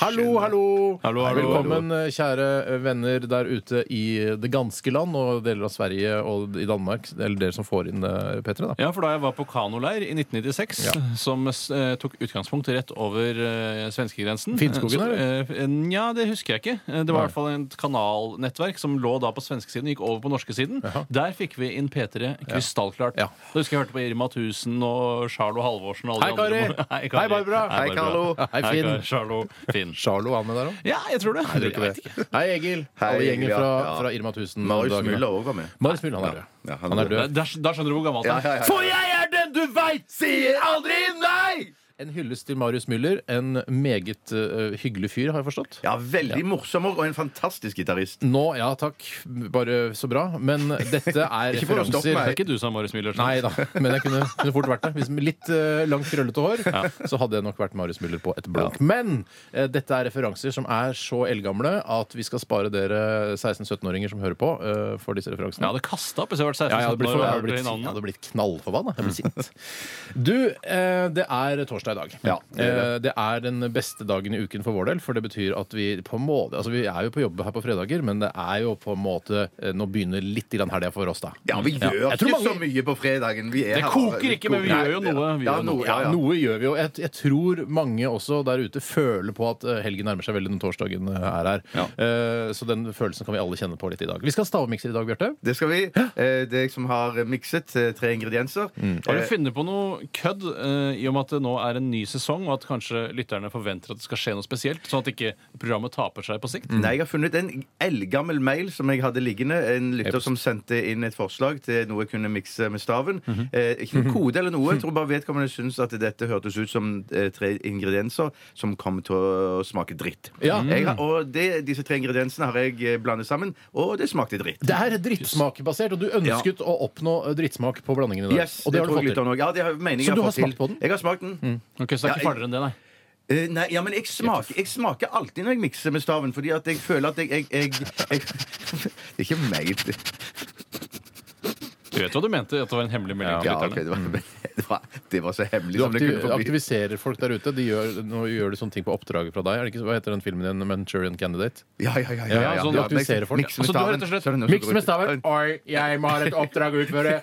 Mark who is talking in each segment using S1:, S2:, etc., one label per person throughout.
S1: Hallo, hallo!
S2: Ah, Hallo, hallo,
S1: Velkommen, eh, kjære venner der ute i det ganske land og deler av Sverige og i Danmark. Eller dere som får inn eh, P3, da.
S2: Ja, for da jeg var på kanoleir i 1996, som eh, tok utgangspunkt rett over eh, svenskegrensen
S1: Finnskogen, eller?
S2: Nja, det husker jeg ikke. Eh, Det var i hvert fall et kanalnettverk som lå da på svenskesiden og gikk over på norskesiden. Der fikk vi inn P3 krystallklart.
S1: Ja.
S2: Da husker jeg hørte på Irma 1000 og Charlo Halvorsen og alle
S1: Hei,
S2: de andre.
S1: Kari!
S2: Hei,
S1: Hei, Barbara!
S2: Hei,
S1: Hei,
S2: Barbara.
S1: Carlo! Hei, Finn.
S2: Kar- Charlo. Finn.
S1: Charlo var med der òg?
S2: Ja, jeg tror det.
S1: Jeg tror ikke det. Hei, Egil.
S3: Hei,
S1: Alle
S3: Egil,
S1: gjengen
S3: ja.
S1: fra,
S3: Ja.
S1: fra Irma 1000.
S3: Marius
S1: dagene.
S3: Müller òg var med.
S1: Marius Müller, han er død.
S3: Ja, han
S1: Han er
S3: er
S1: død.
S2: Da, da skjønner du hvor gammelt han er.
S3: For jeg er den du veit sier aldri nei!
S1: En hyllest til Marius Müller. En meget eh, hyggelig fyr, har jeg forstått.
S3: Ja, veldig morsom og en fantastisk gitarist.
S1: Nå, ja takk. Bare så bra. Men dette er
S3: Ikke for å
S1: referanser
S3: stoppe
S2: Det
S3: meg.
S2: er ikke du som er Marius Müller.
S1: Nei da, men jeg kunne, kunne fort vært det. Hvis med litt eh, langt, krøllete hår, så hadde jeg nok vært Marius Müller på et blunk. Men eh, dette er referanser som er så eldgamle at vi skal spare dere 16-17-åringer som hører på, eh, for disse
S2: Jeg
S1: referansene.
S2: hadde kasta opp hvis jeg hadde vært
S1: Ja, jeg hadde
S2: 16
S1: blitt,
S2: år. og
S1: jeg
S2: hørt
S1: hadde blitt,
S2: de
S1: jeg
S2: navnene.
S1: hadde blitt knallforbanna. Jeg blir sint. Du, eh, det er torsdag i dag.
S3: Ja, det er det.
S1: Eh, det er den beste dagen i uken for vår del, for det betyr at vi på en måte Altså, vi er jo på jobb her på fredager, men det er jo på en måte eh, Nå begynner litt grann helga for oss, da.
S3: Ja, vi gjør
S1: Jeg tror
S3: ikke så
S1: mange-
S3: mye på fredagen. Vi er
S2: Det
S3: her
S2: koker
S3: bare-
S2: ikke, men vi
S3: Nei,
S2: gjør jo noe. Vi
S3: Ja,
S2: gjør
S3: noe,
S2: noe.
S3: Oh, ja, ja.
S1: Noe gjør vi jo. Jeg, jeg tror mange også der ute føler på at eh, helgen nærmer seg veldig når torsdagen eh, er her. Eh, så den følelsen kan vi alle kjenne på litt i dag. Vi skal ha stavmikser i dag, Bjarte.
S3: Det skal vi. Eh, Det er jeg som har mikset eh, tre ingredienser.
S2: Mm.
S3: Eh,
S2: Har du funnet på noe kødd eh, i og med at det nå er en ny sesong, og at kanskje lytterne forventer at det skal skje noe spesielt, sånn at ikke programmet taper seg på sikt?
S3: Nei, jeg har funnet en eldgammel mail som jeg hadde liggende. En lytter som sendte inn et forslag til noe jeg kunne mikse med staven.
S2: Mhm.
S3: eh, ikke noen kode eller noe. Jeg tror bare vedkommende syntes at dette hørtes ut som eh, tre ingredienser som kom til å smake dritt.
S1: Ja.
S3: Jeg har, og det, disse tre ingrediensene har jeg eh, blandet sammen, og det smakte dritt.
S1: Det er drittsmakbasert, og du ønsket å oppnå eh, drittsmak på blandingen i dag.
S3: Yes,
S1: og det, har du
S3: tror jeg
S1: fått til.
S3: lytterne også. Ja, det har, mener jeg
S1: Så du har
S3: fått til.
S1: smakt på den? Mm.
S3: Jeg har smakt den.
S2: Ok, Så det
S3: Ja,
S2: er ikke farligere enn det, nei?
S3: Eh, nei, ja, men jeg smaker, jeg smaker alltid når jeg mikser med staven, fordi at jeg føler at jeg, jeg, jeg, jeg Det er ikke meg.
S2: Du vet hva du mente? At det var en hemmelig melding til
S3: Ja, ok,
S2: lytterne?
S3: det, var, det, var, det var så hemmelig
S1: Mm. Du
S3: som det
S1: aktiv,
S3: kunne få bli.
S1: aktiviserer folk der ute. De gjør, nå gjør de sånne ting på oppdraget fra deg. Er det ikke, hva heter den filmen din? Manchurian Candidate?
S3: Ja, ja, ja.
S1: Ja, sånn du aktiviserer folk, ja.
S3: Mikser med
S2: Så du har
S3: staven.
S2: rett og slett
S3: så er det noe som
S1: Miks med
S3: går ut.
S1: staven! Oi, jeg må ha et oppdrag å utføre!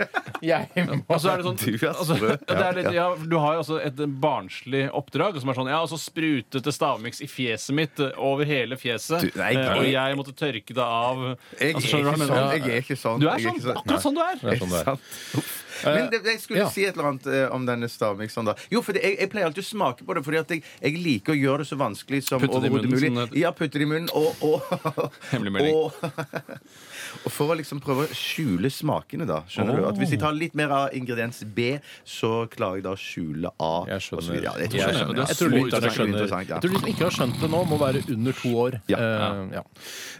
S1: Jeg må
S2: Og så er det sånn
S3: Du er
S2: altså,
S3: sprø.
S2: det er litt, ja, Du har jo altså et barnslig oppdrag som er sånn Ja, og så sprutete stavmiks i fjeset mitt eh, over hele fjeset,
S3: Du, nei,
S2: eh, og
S3: jeg-
S2: jeg måtte tørke det av
S3: Jeg er
S2: Altså, skjønner du hva jeg
S3: ikke
S2: mener?
S3: sånn. Jeg er ikke sånn.
S2: Du
S3: jeg
S2: er sånn!
S3: ikke
S2: Akkurat sånn du er!
S1: Det er sånn det er. Eh,
S3: Sant. Uff. Men det, jeg skulle
S1: ja.
S3: si et eller annet eh, om denne stavmikseren. da Jo, for det, jeg, jeg pleier alltid å smake på det, fordi at jeg, jeg liker å gjøre det så vanskelig som
S2: Putte det i
S3: overhodet
S2: munnen,
S3: mulig.
S2: sånn at-
S3: Ja, putte det i munnen, og, og,
S2: Hemmelig melding.
S3: og, og for å liksom prøve å skjule smakene, da. Skjønner du? At Hvis jeg tar litt mer av ingrediens B, så klarer jeg da å skjule A.
S1: Jeg
S3: og så
S1: skjønner.
S3: videre. Ja, det tror
S1: Jeg
S3: jeg
S2: skjønner. Det er
S3: skjønner. Ja.
S1: Jeg tror
S2: så
S1: lytterne
S2: interessant.
S1: skjønner.
S3: Interessant, ja.
S1: Jeg tror de som ikke har skjønt det nå, må være under to år.
S3: Ja.
S1: Eh, ja.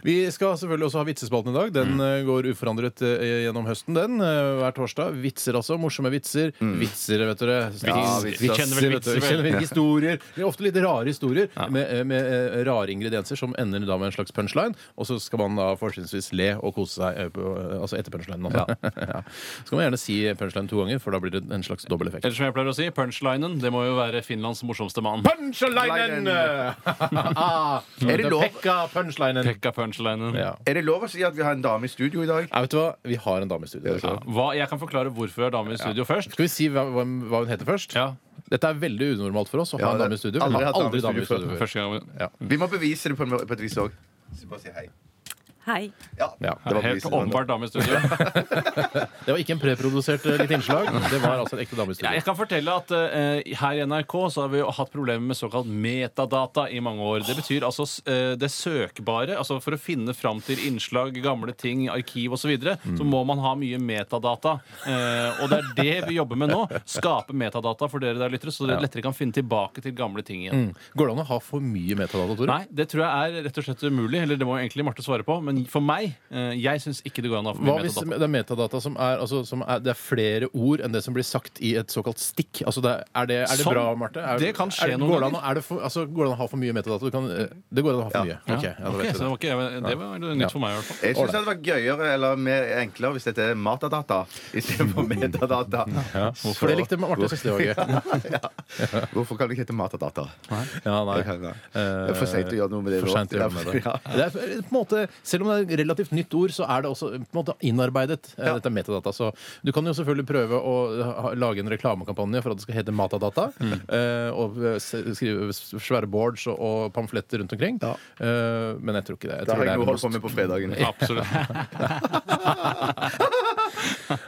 S1: Vi skal selvfølgelig også ha vitsespalten i dag. Den eh, går uforandret eh, gjennom høsten, den. eh, hver torsdag. Vitser, altså. Morsomme vitser. Vitser, vet dere.
S3: Ja,
S1: Ting-
S3: vitser.
S2: Vi kjenner vel
S1: vet du.
S2: vitser,
S1: Vi
S2: vel?
S1: kjenner historier. Det er ofte litt rare historier med, eh, med eh, rare ingredienser som ender da med en slags punchline, og så skal man da fortrinnsvis le og kose seg eh, på, eh, altså etter punchlinen. Altså. Ja. Så kan man gjerne si punchline to ganger, for da blir det en slags dobbel effekt.
S2: Eller som jeg pleier å si, punchlinen, det må jo være Finlands morsomste mann.
S1: Punchlinen! ah,
S3: Er det lov?
S1: Pekka punchlinen.
S2: Pekka punchlinen.
S1: Ja.
S3: Er det lov å si at vi har en dame i studio i dag?
S1: Nei, vet du hva? Vi har en dame i studio.
S2: Ja. Hva, jeg kan forklare hvorfor vi har dame i studio først.
S1: Skal vi si hva, hva hva hun heter først?
S2: Ja,
S1: Dette er veldig unormalt for oss å ha
S3: Ja,
S1: en
S3: det-
S1: dame i studio.
S3: aldri
S1: Vi har
S3: hatt
S1: aldri dame i studio før.
S2: første gang vi-
S1: Mm.
S3: Vi må bevise det på, en, må- på et vis òg. Bare si hei.
S4: Hei.
S3: Ja,
S1: Ja.
S3: det var
S2: Helt
S3: bevisende.
S2: åpenbart dame i studio.
S1: Det var ikke en preprodusert eh, litt innslag. Det var altså en ekte dame i studio.
S2: Jeg kan fortelle at eh, her i NRK så har vi jo hatt problemer med såkalt metadata i mange år. Det betyr altså s- eh, det søkbare. altså For å finne fram til innslag, gamle ting, arkiv osv. Så, videre,
S1: Mm.
S2: så må man ha mye metadata. Eh, og det er det vi jobber med nå. Skape metadata for dere der lyttere, så dere lettere kan finne tilbake til gamle ting
S1: Mm.
S2: igjen.
S1: Går det an å ha for mye metadata, Tore?
S2: Nei, det tror jeg er rett og slett umulig. Eller det må egentlig Marte svare på, men Men for meg eh, Jeg syns ikke det går an å ha for
S1: Hva
S2: mye
S1: hvis
S2: metadata.
S1: det er metadata som er, altså, som er Det er flere ord enn det som blir sagt i et såkalt stikk. Altså, det er, er det, er det
S2: Sånn.
S1: bra, Marte? Er,
S2: Det kan skje
S1: er,
S2: noen
S1: går det an å-
S2: ganger.
S1: Er det, for, altså, går det an å ha for mye metadata? Du kan, eh, det går an å ha for mye.
S2: Ja.
S1: Ok, ja, da
S2: Ok,
S1: vet vi det.
S2: så det var, ikke, det var nytt for meg i hvert fall.
S3: Jeg syns det hadde vært gøyere eller mer enklere hvis dette er matadata istedenfor metadata.
S1: For det likte Marte. Jeg synes det var gøy.
S3: Hvorfor kan det ikke hete matadata?
S1: Ja, nei. Eh,
S3: Det kan jeg. Det er for sent å gjøre noe med det
S1: For
S3: nå.
S1: sent å gjøre noe med det. det er, på en måte, selv om det er et relativt nytt ord, så er det også på en måte innarbeidet. eh, Dette er metadata. Så du kan jo selvfølgelig prøve å ha, lage en reklamekampanje for at det skal hete Matadata.
S3: Mm.
S1: eh, og eh, s- skrive s- svære boards og, og pamfletter rundt omkring. Eh, men jeg tror ikke det. Jeg tror
S3: Da har
S1: det
S3: jeg
S1: er
S3: noe å
S1: most-
S3: holde på med på fredagen.
S2: Absolutt.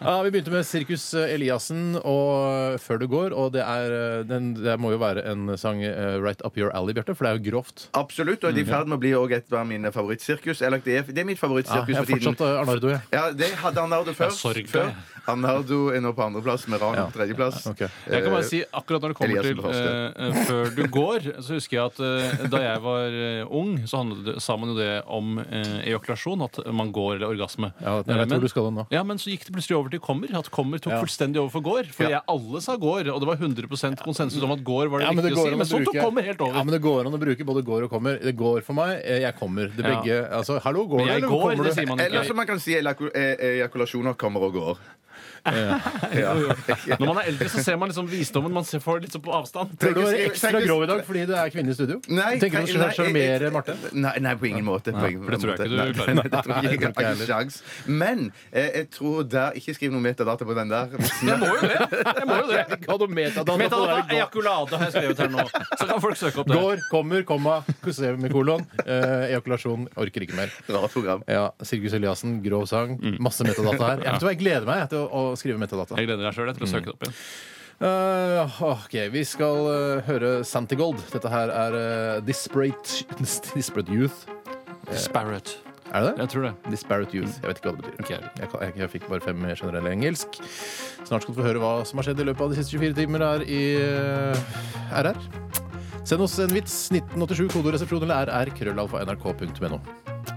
S1: Ja, Vi begynte med Sirkus eh, Eliassen og eh, Før du går. Og det, er, eh, den, det må jo være en sang eh, right up your alley, Bjarte, for det er jo grovt.
S3: Absolutt, og det er
S1: Mhm.
S3: i ferd med å bli også et av mine favorittsirkus. Eller det er, det er mitt
S1: Ja,
S3: favorittsirkus
S1: jeg er
S3: for tiden.
S1: fortsatt eh, Arnardo, jeg.
S3: Ja, det hadde Arnardo før.
S2: sorg,
S3: før.
S2: det.
S3: Arnardo er nå på andreplass, med Ran på tredjeplass.
S1: Ok.
S2: Jeg kan bare si akkurat når det kommer
S3: Eliassen
S2: til
S3: på første.
S2: eh, eh, Før du går, så husker jeg at eh, da jeg var eh, ung, så handlet det, sa man jo det om eh, ejakulasjon. At man går eller orgasme.
S1: Ja, jeg vet
S2: Eh, men-
S1: hvor du skal nå.
S2: Ja, Men så gikk det plutselig over til kommer. At kommer tok
S1: Ja.
S2: fullstendig over for går. For jeg alle sa går, og det var 100 konsensus om at går var det
S1: Ja, men det
S2: riktige
S1: går
S2: å si.
S1: an å
S2: Men så tok
S1: bruke-
S2: kommer helt over.
S1: Ja, men det går an å bruke både går og kommer. Det går for meg, eh, jeg kommer. Det
S2: Ja.
S1: begge, altså, hallo, går det,
S2: Men jeg
S1: eller
S2: går,
S1: kommer
S2: det
S1: du?
S2: sier man
S3: Eller
S2: ikke.
S3: som man kan si, elaku- e- ejakulasjoner kommer og går. Ja.
S2: Når man er eldre, så ser man liksom visdommen. Man ser- får litt sånn på avstand.
S1: Tror du du var
S3: Tenk-
S1: ekstra
S3: tenk-
S1: grov i dag fordi du er kvinne i studio?
S3: Nei,
S1: Tenker du
S3: tenk-
S1: skal
S3: nei,
S1: sjarmere
S3: jeg-
S1: Marte?
S3: Nei, nei, på ingen måte. På ingen
S2: for det tror jeg
S3: måte.
S2: ikke du
S3: Nei,
S2: klarer.
S3: Nei,
S1: Nei, det
S3: det tror jeg ikke.
S1: tror
S3: Jeg
S1: ikke jeg
S3: har ikke sjans. Men eh, jeg tror der Ikke skriv noe metadata på den der.
S2: Jeg må jo det. Jeg må jo det.
S1: Hva hadde metadata på
S2: Metadata,
S1: det? Går-
S2: ejakulade har jeg skrevet her nå. Så kan folk søke opp det.
S1: Går, kommer, komma, semikolon. Eh, ejakulasjon. Orker ikke mer.
S3: Rart program.
S1: Ja, Sigurd Eliassen, grov sang. Masse metadata her. Jeg, vet du hva, jeg gleder meg til å, å skrive metadata.
S2: Jeg gleder meg sjøl til å søke det opp igjen.
S1: Eh, ok, Vi skal eh, høre Santigold. Dette her er eh, Disparate, Disparate Youth.
S2: Disparate.
S1: Er det det?
S2: Jeg tror det.
S1: Disparate Youth. Jeg vet ikke hva det betyr.
S2: Ikke jeg heller.
S1: Jeg, kan- jeg, jeg fikk bare fem i generell engelsk. Snart skal du få høre hva som har skjedd i løpet av de siste 24 timer her i eh, RR. Send oss en vits. 1987, kodoresepsjon eller RR, krøllalfa, nrk.no.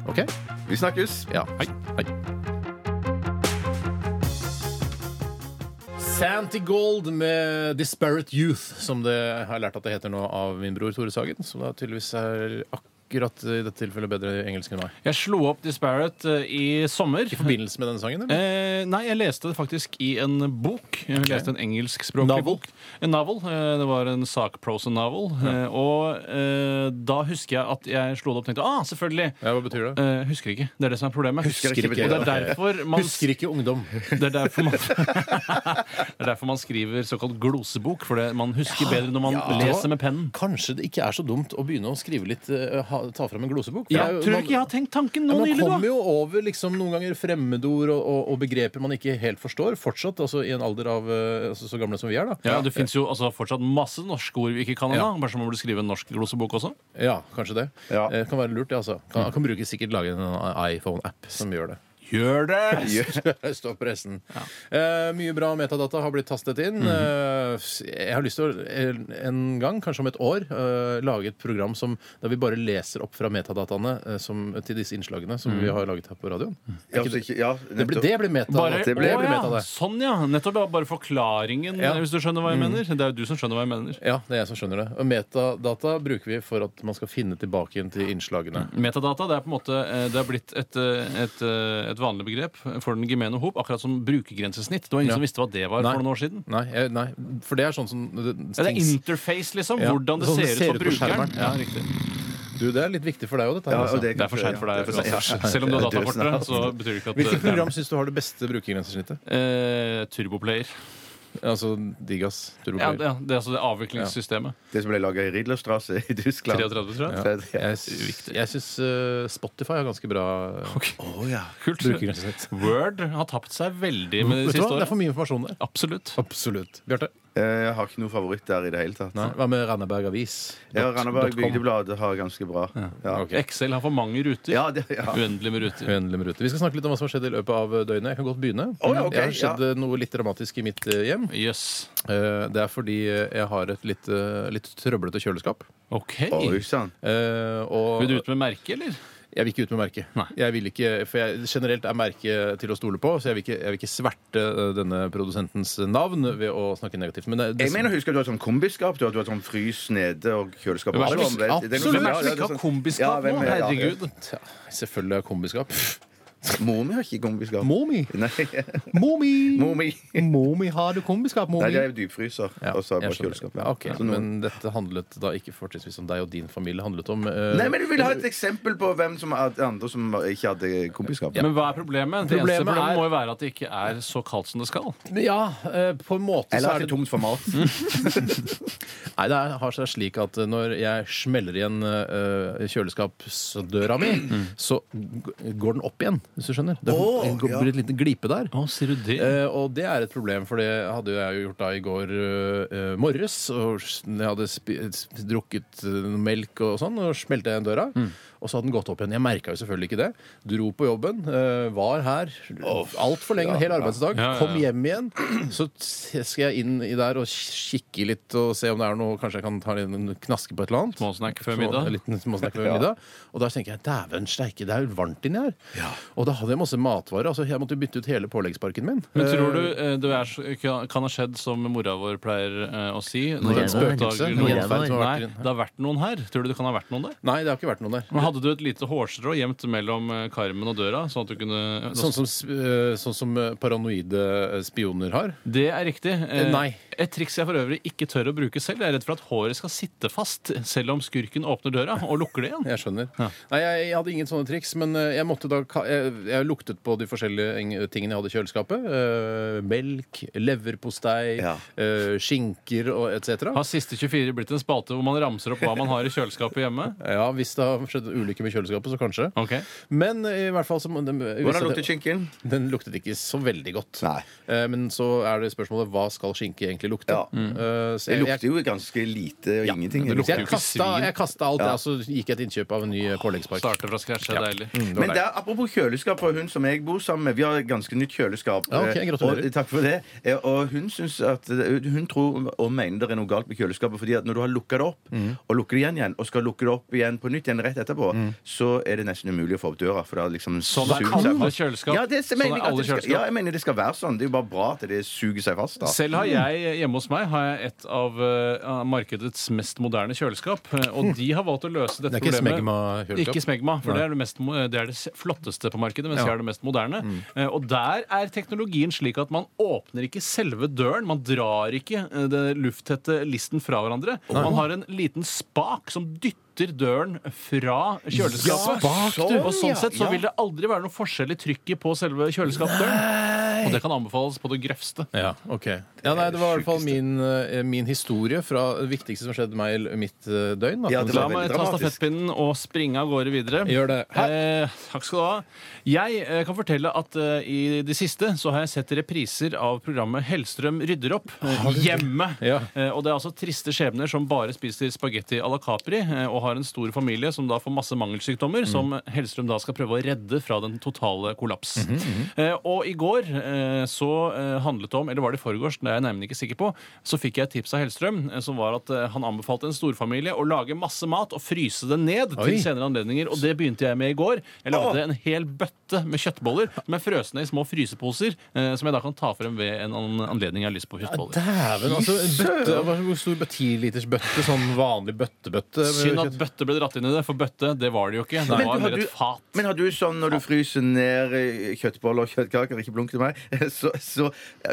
S1: OK?
S3: Vi snakkes.
S1: Ja. Hei. Hei. Santi Gold med Disparate Youth, som det jeg har lært at det heter nå av min bror Tore Sagen, som da tydeligvis er akkurat i dette tilfellet bedre i engelsk enn meg.
S2: Jeg slo opp Disparate eh, i sommer.
S1: I forbindelse med denne sangen, eller?
S2: Eh, nei, jeg leste det faktisk i en bok. Jeg leste en engelskspråklig
S1: Novel?
S2: bok. En novel. Eh, det var en sakprosa-novel. Eh, og eh, da husker jeg at jeg slo det opp og tenkte ah, selvfølgelig.
S1: Ja, hva betyr det?
S2: Eh, husker ikke. Det er det som er problemet.
S3: Husker ikke
S2: Og det er derfor man
S1: Husker ikke ungdom.
S2: Det er derfor man, det er derfor man skriver såkalt glosebok, for det, man husker bedre når man leser med pennen.
S1: Kanskje det ikke er så dumt å begynne å skrive litt, eh, ha, ta fram en glosebok? For
S2: Ja,
S1: det er jo-
S2: tror du
S1: man-
S2: ikke jeg har tenkt tanken
S1: Ja,
S2: nå
S1: man
S2: nylig,
S1: kommer
S2: da?
S1: jo over liksom, noen ganger fremmedord og, og, og begreper man ikke helt forstår, fortsatt, altså i en alder av eh, altså, så gamle som vi er, da.
S2: Ja, Det fins jo altså, fortsatt masse norske ord vi ikke kan ennå. Kanskje man burde skrive en norsk glosebok også?
S1: Ja, kanskje det.
S3: Ja.
S1: Eh, kan være lurt, det, altså. Kan, kan bruke, sikkert lage en sånn iPhone-app som gjør det.
S2: Gjør det!
S1: Det står på resten. Eh, mye bra metadata har blitt tastet inn. eh, jeg har lyst til å en, en gang, kanskje om et år, eh, lage et program som, der vi bare leser opp fra metadataene eh, som, til disse innslagene som vi har laget her på radioen. Er
S3: Ja,
S1: ikke
S3: altså,
S1: det,
S3: ikke- ja,
S1: det blir,
S3: nettopp.
S1: det blir metadata.
S2: Bare,
S3: det ble-
S2: å,
S1: blir
S2: ja.
S1: metadata.
S2: Sånn, ja. Nettopp. ja. Bare forklaringen,
S1: Ja.
S2: hvis du skjønner hva jeg mener. Det er jo du som skjønner hva jeg mener.
S1: Ja, det er jeg som skjønner det. Og metadata bruker vi for at man skal finne tilbake igjen til innslagene.
S2: Mm. Metadata det er på en måte, eh, det er blitt et, eh, et, eh, et vanlig begrep for den gemene hop, akkurat som brukergrensesnitt. Det var ingen
S1: Ja.
S2: som visste hva det var
S1: Nei.
S2: for noen år siden.
S1: Nei, eh, nei, for det er sånn som
S2: Ja, det er
S1: ting-
S2: interface, liksom.
S1: Ja,
S2: Hvordan det
S1: sånn
S2: ser, ut for
S1: på skjermen.
S2: brukeren. Ja, riktig.
S1: Du, det er litt viktig for deg òg, dette. her,
S3: Ja,
S1: altså.
S3: og det
S2: Det er for seint for deg. altså.
S3: Ja, det er for sent.
S2: Selv om du har
S3: Jeg dør
S2: datakortet, så betyr det ikke at
S1: Hvilket program syns du har det beste brukergrensesnittet?
S2: Eh, Turboplayer.
S1: Altså Digas.
S2: Ja,
S1: Turboplayer.
S2: det, det er altså det avviklingssystemet.
S3: Det som ble laga i Riedlerstrasse i Tyskland.
S2: 33, tror jeg.
S1: Jeg, s- jeg syns eh, Spotify har ganske bra
S3: Å, ja.
S2: Kult.
S1: brukergrensesnitt.
S2: Word har tapt seg veldig med
S1: Mm. Vet
S2: det
S1: du
S2: siste
S1: hva? Det er
S2: året.
S1: for mye informasjon der.
S2: Absolutt.
S1: Absolutt. Bjarte?
S3: Eh, Jeg har ikke noe favoritt der i det hele tatt.
S1: Hva med Randaberg Avis?
S3: Ja,
S1: Dot-
S3: Randaberg
S1: dot com.
S3: Bygdeblad har ganske bra. Ja,
S1: Ok.
S2: Excel har for mange ruter.
S3: ja, det, ja.
S2: Uendelig med ruter.
S1: Uendelig med ruter. Vi skal snakke litt om hva som har skjedd i løpet av eh, døgnet. Jeg kan godt begynne.
S3: Å, ja, ok,
S1: Det har skjedd eh, noe litt dramatisk i mitt eh, hjem.
S2: Jøss.
S1: Eh, Det er fordi eh, jeg har et litt, eh, litt trøblete kjøleskap.
S2: OK.
S3: Oi sann.
S1: Eh, og-
S2: Vil du ut med merke, eller?
S1: Jeg vil ikke ut med merket.
S2: Nei.
S1: Jeg vil ikke, for jeg, generelt er merket til å stole på, så jeg vil ikke, jeg vil ikke sverte eh, denne produsentens navn ved å snakke negativt. Men eh, det, det,
S3: Jeg mener, husker du har sånn kombiskap? Du har, du har sånn frys nede og kjøleskap
S1: Hvem er
S3: oppe.
S1: det som-
S3: Det er noe-
S1: absolutt
S3: ja, det er
S2: ikke har
S3: sånn-
S2: kombiskap
S3: Ja, hvem
S2: nå?
S3: er- ja, ja.
S2: Herregud.
S1: Tja, Selvfølgelig er kombiskap.
S3: Mor mi har ikke kombiskap.
S1: Momi!
S3: Nei.
S1: Momi!
S3: Mor mi.
S1: Momi har du kombiskap, Momi?
S3: Nei, jeg er dypfryser.
S1: Ja,
S3: og så har
S1: jeg
S3: jeg bare
S1: skjønner.
S3: kjøleskap.
S1: Ja, ok.
S3: Så noen-
S1: Men dette handlet da ikke fortrinnsvis om deg og din familie. Det handlet om eh,
S3: Nei, men Du vil ha et eksempel på hvem som er andre som ikke hadde kompiskap?
S2: Men hva er problemet? Det
S1: Problemet
S2: eneste problemet
S1: er-
S2: må jo være at det ikke er så kaldt som det skal.
S1: Ja, eh, på en måte så
S3: Eller at
S1: er det
S3: det er tomt for mat.
S1: Nei, det er- har seg slik at eh, når jeg smeller igjen eh, kjøleskapsdøra mi, så g- går den opp igjen, hvis du skjønner. Det
S3: Mm. Åh,
S1: det går-
S3: ja.
S1: blir et liten glipe der.
S2: Å, sier du det?
S1: Eh, og det er et problem, for det hadde jo jeg jo gjort da i går eh, eh, morges. Og s- jeg hadde spi sp- drukket eh, noe melk og sånn, og smelte igjen døra.
S2: Mm.
S1: Og så hadde den gått opp igjen. Jeg merka jo selvfølgelig ikke det. Dro på jobben, eh, var her altfor lenge, en hel arbeidsdag.
S2: Ja, ja, ja.
S1: Kom hjem igjen. Så s- skal jeg inn i der og kikke litt og se om det er noe Kanskje jeg kan ta en liten knaske på et eller annet.
S2: Småsnakk før
S1: Små-
S2: middag.
S1: en liten småsnakk før middag. Og da tenker jeg dæven steike, det er jo varmt inni her. Og da hadde jeg masse matvarer. Altså, jeg måtte jo bytte ut hele påleggsparken min.
S2: Men tror du eh, det er, så- kan kan ha skjedd som mora vår pleier eh, å si? når
S1: Mora
S2: hun
S1: vår.
S2: oppdager
S1: Spøkelse.
S2: noe?
S1: Mora vår.
S2: Nei, det har vært noen her. Tror du det kan ha vært noen der?
S1: Nei, det har ikke vært noen der.
S2: Men hadde du et lite hårstrå gjemt mellom eh, karmen og døra? Sånn at du kunne
S1: Sånn som, eh, sånn som eh, paranoide eh, spioner har.
S2: Det er riktig. Eh,
S1: Nei.
S2: Et triks jeg for øvrig ikke tør å bruke selv. Jeg er redd for at håret skal sitte fast selv om skurken åpner døra og lukker det igjen.
S1: Jeg skjønner. Nei, jeg, jeg hadde ingen sånne triks, men eh, jeg måtte da ka- jeg, jeg luktet på de forskjellige ing- tingene jeg hadde i kjøleskapet. Eh, melk, leverpostei,
S3: Ja.
S1: eh, skinker og etc.
S2: Har siste 24 blitt en spalte hvor man ramser opp hva man har i kjøleskapet hjemme?
S1: Ja, hvis det har skjedd ulykker med kjøleskapet, så kanskje.
S2: Ok.
S1: Men eh, i hvert fall så må- de- hvis at-
S3: Hvordan lukter skinken?
S1: Den luktet ikke så veldig godt.
S3: Nei.
S1: Eh, Men så er det spørsmålet hva skal skinke egentlig lukte?
S3: Ja.
S1: Eh, så
S3: Det
S1: jeg,
S3: lukter jo ganske lite og ingenting.
S1: jeg, så
S3: liksom.
S2: lukter jo
S3: egentlig.
S1: jeg,
S2: ikke
S1: kasta,
S2: svin.
S1: jeg kasta alt det, og så gikk jeg til innkjøp av en ny eh, påleggspark.
S2: Starte fra scratch er deilig.
S1: Mm, det var
S3: Men
S1: deilig.
S3: der, apropos kjøleskap og hun som jeg bor sammen med Vi har et ganske nytt kjøleskap. eh,
S1: Ja, ok, gratulerer.
S3: og, takk for det. Eh, Og hun, synes at, eh, hun tror og mener det er noe galt med kjøleskapet. Fordi at når du har lukka det opp, og lukker det igjen igjen, og skal lukke det opp igjen på nytt igjen rett etterpå, så er det nesten umulig å få opp døra. For det har liksom
S2: Sånn er
S3: suget seg
S2: alle
S3: fast.
S2: kjøleskap.
S3: Ja, det,
S2: Sånn
S3: mener,
S2: er
S3: jeg at
S2: alle
S3: det skal, ja,
S2: kjøleskap.
S3: jeg mener det skal være sånn. Det er jo bare bra at det suger seg fast. da
S2: Selv har jeg hjemme hos meg har jeg et av eh, av markedets mest moderne kjøleskap. eh, Og de har valgt å løse dette
S1: Det er ikke
S2: problemet.
S1: smegma-kjøleskap?
S2: Ikke smegma, for det er det, mest, mo- det er det s- flotteste på markedet, mens jeg er det mest moderne.
S1: Mm.
S2: Eh, Og der er teknologien slik at man åpner ikke selve døren. Man drar ikke eh, det lufttette listen fra hverandre. Man har en liten spak som dytter døren fra kjøleskapet.
S1: spak, du.
S2: og sånn
S1: Ja,
S2: sett så
S1: ja.
S2: vil det aldri være noe forskjell i trykket på selve kjøleskapsdøren. Og det kan anbefales på det grøvste.
S1: Ja, ok. Ja, nei, det var i hvert fall min, eh, min historie fra det viktigste som skjedde meg i mitt eh, døgn. Da.
S3: Ja, det
S2: La
S3: var veldig
S2: meg ta
S3: dramatisk.
S2: stafettpinnen og springe av gårde videre.
S1: Gjør det.
S2: Eh, takk skal du ha. Jeg eh, kan fortelle at eh, i det siste så har jeg sett repriser av programmet Hellstrøm rydder opp eh, hjemme.
S1: Ja.
S2: Eh, og det er altså triste skjebner som bare spiser spagetti à la Capri eh, og har en stor familie som da får masse mangelsykdommer, som
S1: Mm.
S2: Hellstrøm da skal prøve å redde fra den totale kollaps.
S1: Mhm,
S2: eh, og i går eh, så eh, handlet det om, eller var det i forgårs, det er jeg nemlig ikke sikker på, så fikk jeg et tips av Hellstrøm eh, som var at eh, han anbefalte en storfamilie å lage masse mat og fryse det ned
S1: Oi.
S2: til senere anledninger, og det begynte jeg med i går. Jeg lagde en hel bøtte med kjøttboller som er frøsne i små fryseposer, eh, som jeg da kan ta frem ved en an- anledning jeg har lyst på kjøttboller.
S1: Dæven, altså. En bøtte, hva er det, hvor stor bøtte? 10 liters bøtte? Sånn vanlig bøttebøtte? med
S2: Synd at
S1: kjøtt?
S2: bøtte ble dratt inn i det, for bøtte det var det jo ikke. Det
S3: Men du,
S2: var
S3: har
S2: mer
S3: du-
S2: et fat.
S3: Men har du sånn når du fryser ned eh, kjøttboller og kjøttkaker, ikke blunk til meg, så, så,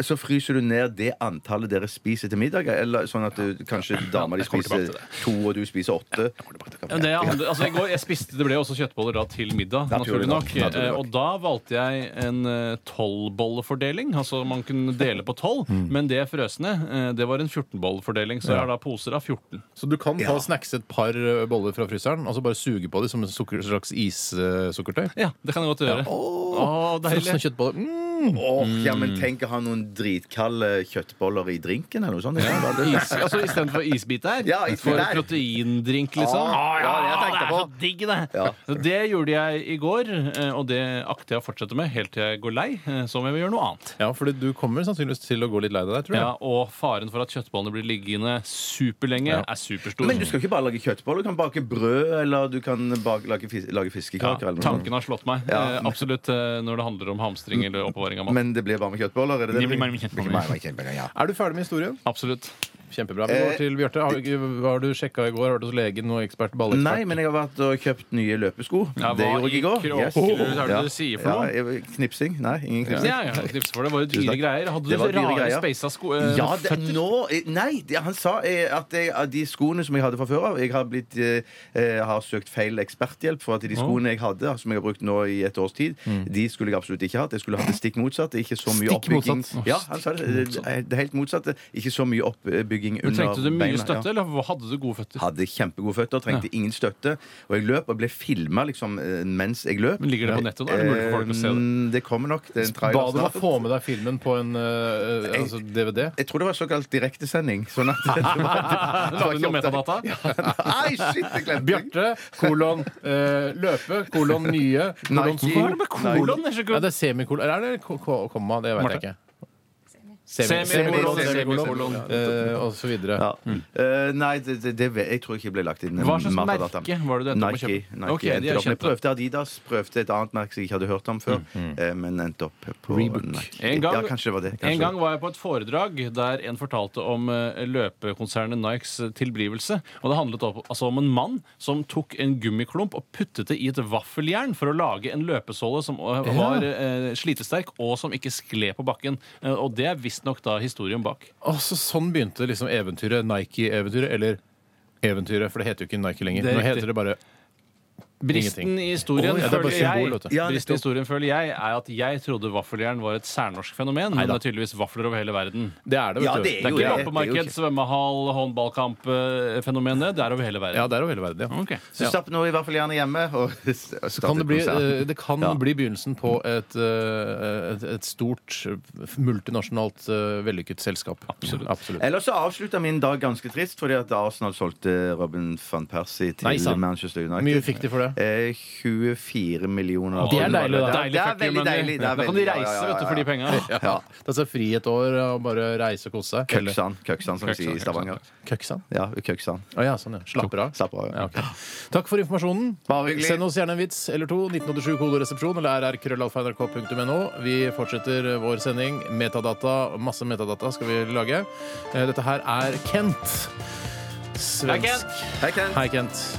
S3: så fryser du ned det antallet dere spiser til middag? Eller sånn at du, kanskje dama di
S2: Jeg kommer tilbake
S3: spiser
S2: til det.
S3: to, og du spiser åtte?
S2: Men det, handler- altså, i går, jeg spiste, det ble jo også kjøttboller da, til middag, naturlig
S3: Naturlig
S2: nok.
S3: nok, naturlig
S2: Eh,
S3: nok.
S2: Og da valgte jeg en eh, tolvbollefordeling. Altså man kunne dele på tolv,
S3: Mm.
S2: men det frøsne eh, det var en 14-bollefordeling. Så jeg har da poser av 14.
S1: Så du kan ta
S3: Ja.
S1: og snackse et par eh, boller fra fryseren og så bare suge på dem som en sukker, slags issukkertøy?
S2: Ja, det kan jeg godt gjøre. Å, deilig.
S1: Frosne kjøttboller. Mm,
S3: Åh, ja, men tenk å ha noen dritkalde kjøttboller i drinken eller noe sånt. Ja,
S2: Is, altså Istedenfor isbit der?
S3: Ja, isbit
S2: for
S3: der.
S2: proteindrink, liksom?
S3: Ah, ja, det
S2: det
S3: tenkte
S2: er
S3: jeg på.
S2: så digg, det!
S3: Ja.
S2: Så Det gjorde jeg i går, eh, og det akter jeg å fortsette med helt til jeg går lei, eh, så må jeg gjøre noe annet.
S1: Ja, for du kommer sannsynligvis til å gå litt lei deg der, tror jeg.
S2: Ja, og faren for at kjøttbollene blir liggende superlenge, er superstor.
S3: Men du skal ikke bare lage kjøttboller. Du kan bake brød, eller du kan bake, lage, fis, lage
S2: ja,
S3: fiskekaker. eller noe sånt.
S2: tanken har slått meg.
S3: Ja.
S2: eh, Absolutt eh, når det handler om hamstring eller oppbevaring av mat.
S3: Men det blir varme kjøttboller? Er det det?
S2: Det blir varme kjøttboller.
S3: Det blir varme kjøttboller, ja.
S1: Er du ferdig med historien?
S2: Absolutt.
S1: Kjempebra. Vi går
S3: Eh,
S1: til Bjarte. Har, hva har du sjekka i går? Har du hos legen og ekspert? Ballekspert?
S3: Nei, men jeg har vært og kjøpt nye løpesko.
S2: Ja,
S3: det
S2: hva
S3: gjorde jeg i
S2: i
S3: går.
S2: kråkerus er det
S3: Ja.
S2: du sier for noe?
S3: Ja, jeg- knipsing? Nei, ingen knipsing.
S2: Ja, ja, knips for det. var jo
S3: Tusen
S2: dyre
S3: takk.
S2: greier. Hadde du
S3: Det var dyre
S2: rare
S3: greier.
S2: speisa sko... eh,
S3: Ja, det,
S2: føtter?
S3: nå eh, Nei, det, han sa eh, at jeg, at de skoene som jeg hadde fra før av Jeg har, blitt, eh, eh, har søkt feil eksperthjelp for at de skoene jeg hadde, altså, som jeg har brukt nå i et års tid,
S2: Mm.
S3: de skulle jeg absolutt ikke hatt. Jeg skulle hatt det stikk motsatt. Ikke så mye
S1: Stikk
S3: oppbygging.
S1: motsatt.
S3: Ja, han sa det. Eh, Det er helt motsatt. Ikke så mye oppbygging
S2: Men
S3: under
S2: Trengte du mye
S3: beina, ja.
S2: støtte, eller hva- hadde du gode føtter?
S3: Hadde kjempegode føtter, trengte ingen støtte. Og jeg løp og ble filma liksom, eh, mens jeg løp.
S2: Men Ligger det på nettet? da? Er det mulig for folk å se det?
S3: Eh, det kommer nok. Det er en
S1: Ba
S3: trailer
S1: du meg
S3: snart.
S1: få med deg filmen på en eh, eh, altså DVD?
S3: Jeg tror det var såkalt direktesending. Sånn at det var, det
S2: Lagde du noe metadata?
S3: Nei, shit, jeg glemte det.
S1: Bjarte, kolon, eh, løpe, kolon, nye, kolon,
S3: Nike.
S1: sko.
S2: Hva er det med kolon? Det
S1: Ja,
S2: er så kult.
S1: det er semikol... Eller er det ko- ko- komma? Det vet jeg ikke.
S2: Semi-
S1: Semikolon,
S2: semikolon,
S1: semikolon, eh, og så videre.
S3: Ja. Eh, nei, det, det, det, jeg tror ikke jeg ble lagt inn.
S2: Mm. Hva slags
S3: metadata.
S2: merke var det du endte opp med å
S3: Nike.
S2: kjøpe?
S3: Nike
S2: Ok, de er
S3: endte opp med. Jeg
S2: kjente.
S3: prøvde Adidas, prøvde et annet merke som jeg ikke hadde hørt om før, eh, men endte opp på
S1: Reebok.
S3: Nike.
S2: Mm, En gang-
S3: ja, kanskje det var det. Kanskje
S2: En gang var jeg på et foredrag der en fortalte om eh, løpekonsernet Nikes tilblivelse. Og det handlet opp, altså om en mann som tok en gummiklump og puttet det i et vaffeljern for å lage en løpesåle som eh, var eh, slitesterk, og som ikke skled på bakken. Eh, og det er visstnok da historien bak.
S1: Og så sånn begynte liksom eventyret. Nike-eventyret, eller eventyret, for det heter jo ikke Nike lenger.
S2: Det er
S1: Nå
S2: riktig.
S1: heter det bare
S2: Bristen
S1: Ingenting.
S2: i historien,
S1: Å, ja, det er bare
S2: føler jeg,
S1: symbol, vet du.
S3: Ja,
S2: bristen i
S3: nettopp.
S2: historien føler jeg er at jeg trodde vaffeljern var et særnorsk fenomen, men det er tydeligvis vafler over hele verden.
S1: Det er det, vet
S3: Ja,
S1: du.
S3: det
S2: Det er
S3: er jo
S2: ikke
S3: det. Det er
S2: loppemarked,
S3: jo
S2: svømmehall, håndballkamp-fenomen. Det er over hele verden.
S1: Ja, det er over hele verden, ja.
S2: Ok.
S3: Så stapp nå i hvert fall gjerne hjemme. Og så
S1: Kan det, bli, eh, det kan bli begynnelsen på et, eh, et, et stort, eh, multinasjonalt eh, vellykket selskap. Absolutt.
S3: Ellers så avslutta min dag ganske trist, fordi at Arsenal solgte Robin van Persie til
S1: Nei, sant.
S3: Manchester United.
S1: Mye fikk de for det.
S3: Eh, 24 millioner.
S1: Det er deilig, da.
S3: Det er veldig deilig. det
S2: Da
S3: er
S2: kan
S3: veldig-
S2: de reise
S3: ja, ja, ja,
S2: vet du, for de penga.
S1: Ja. Ta seg fri et år og bare reise og kose seg. Eller-
S3: Køksan, køksan som vi sier i Stavanger.
S1: Køksan?
S3: Ja, køksan.
S1: Å ja, sånn, ja. Slapper av.
S3: Slapp av.
S1: Ja, ok. Takk for informasjonen.
S3: Bare hyggelig.
S1: Send oss gjerne en vits eller to. 1987 kodoresepsjon eller rrkrøllalfa.nrk.no. Vi fortsetter vår sending. Metadata, masse metadata skal vi lage. Eh, Dette her er Kent. Svensk.
S2: Hei, Kent.
S3: Hei, Ken.
S1: Hei, Kent.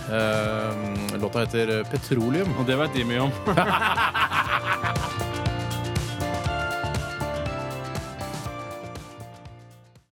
S1: Eh, Låta heter Petroleum.
S2: Og det vet de mye om.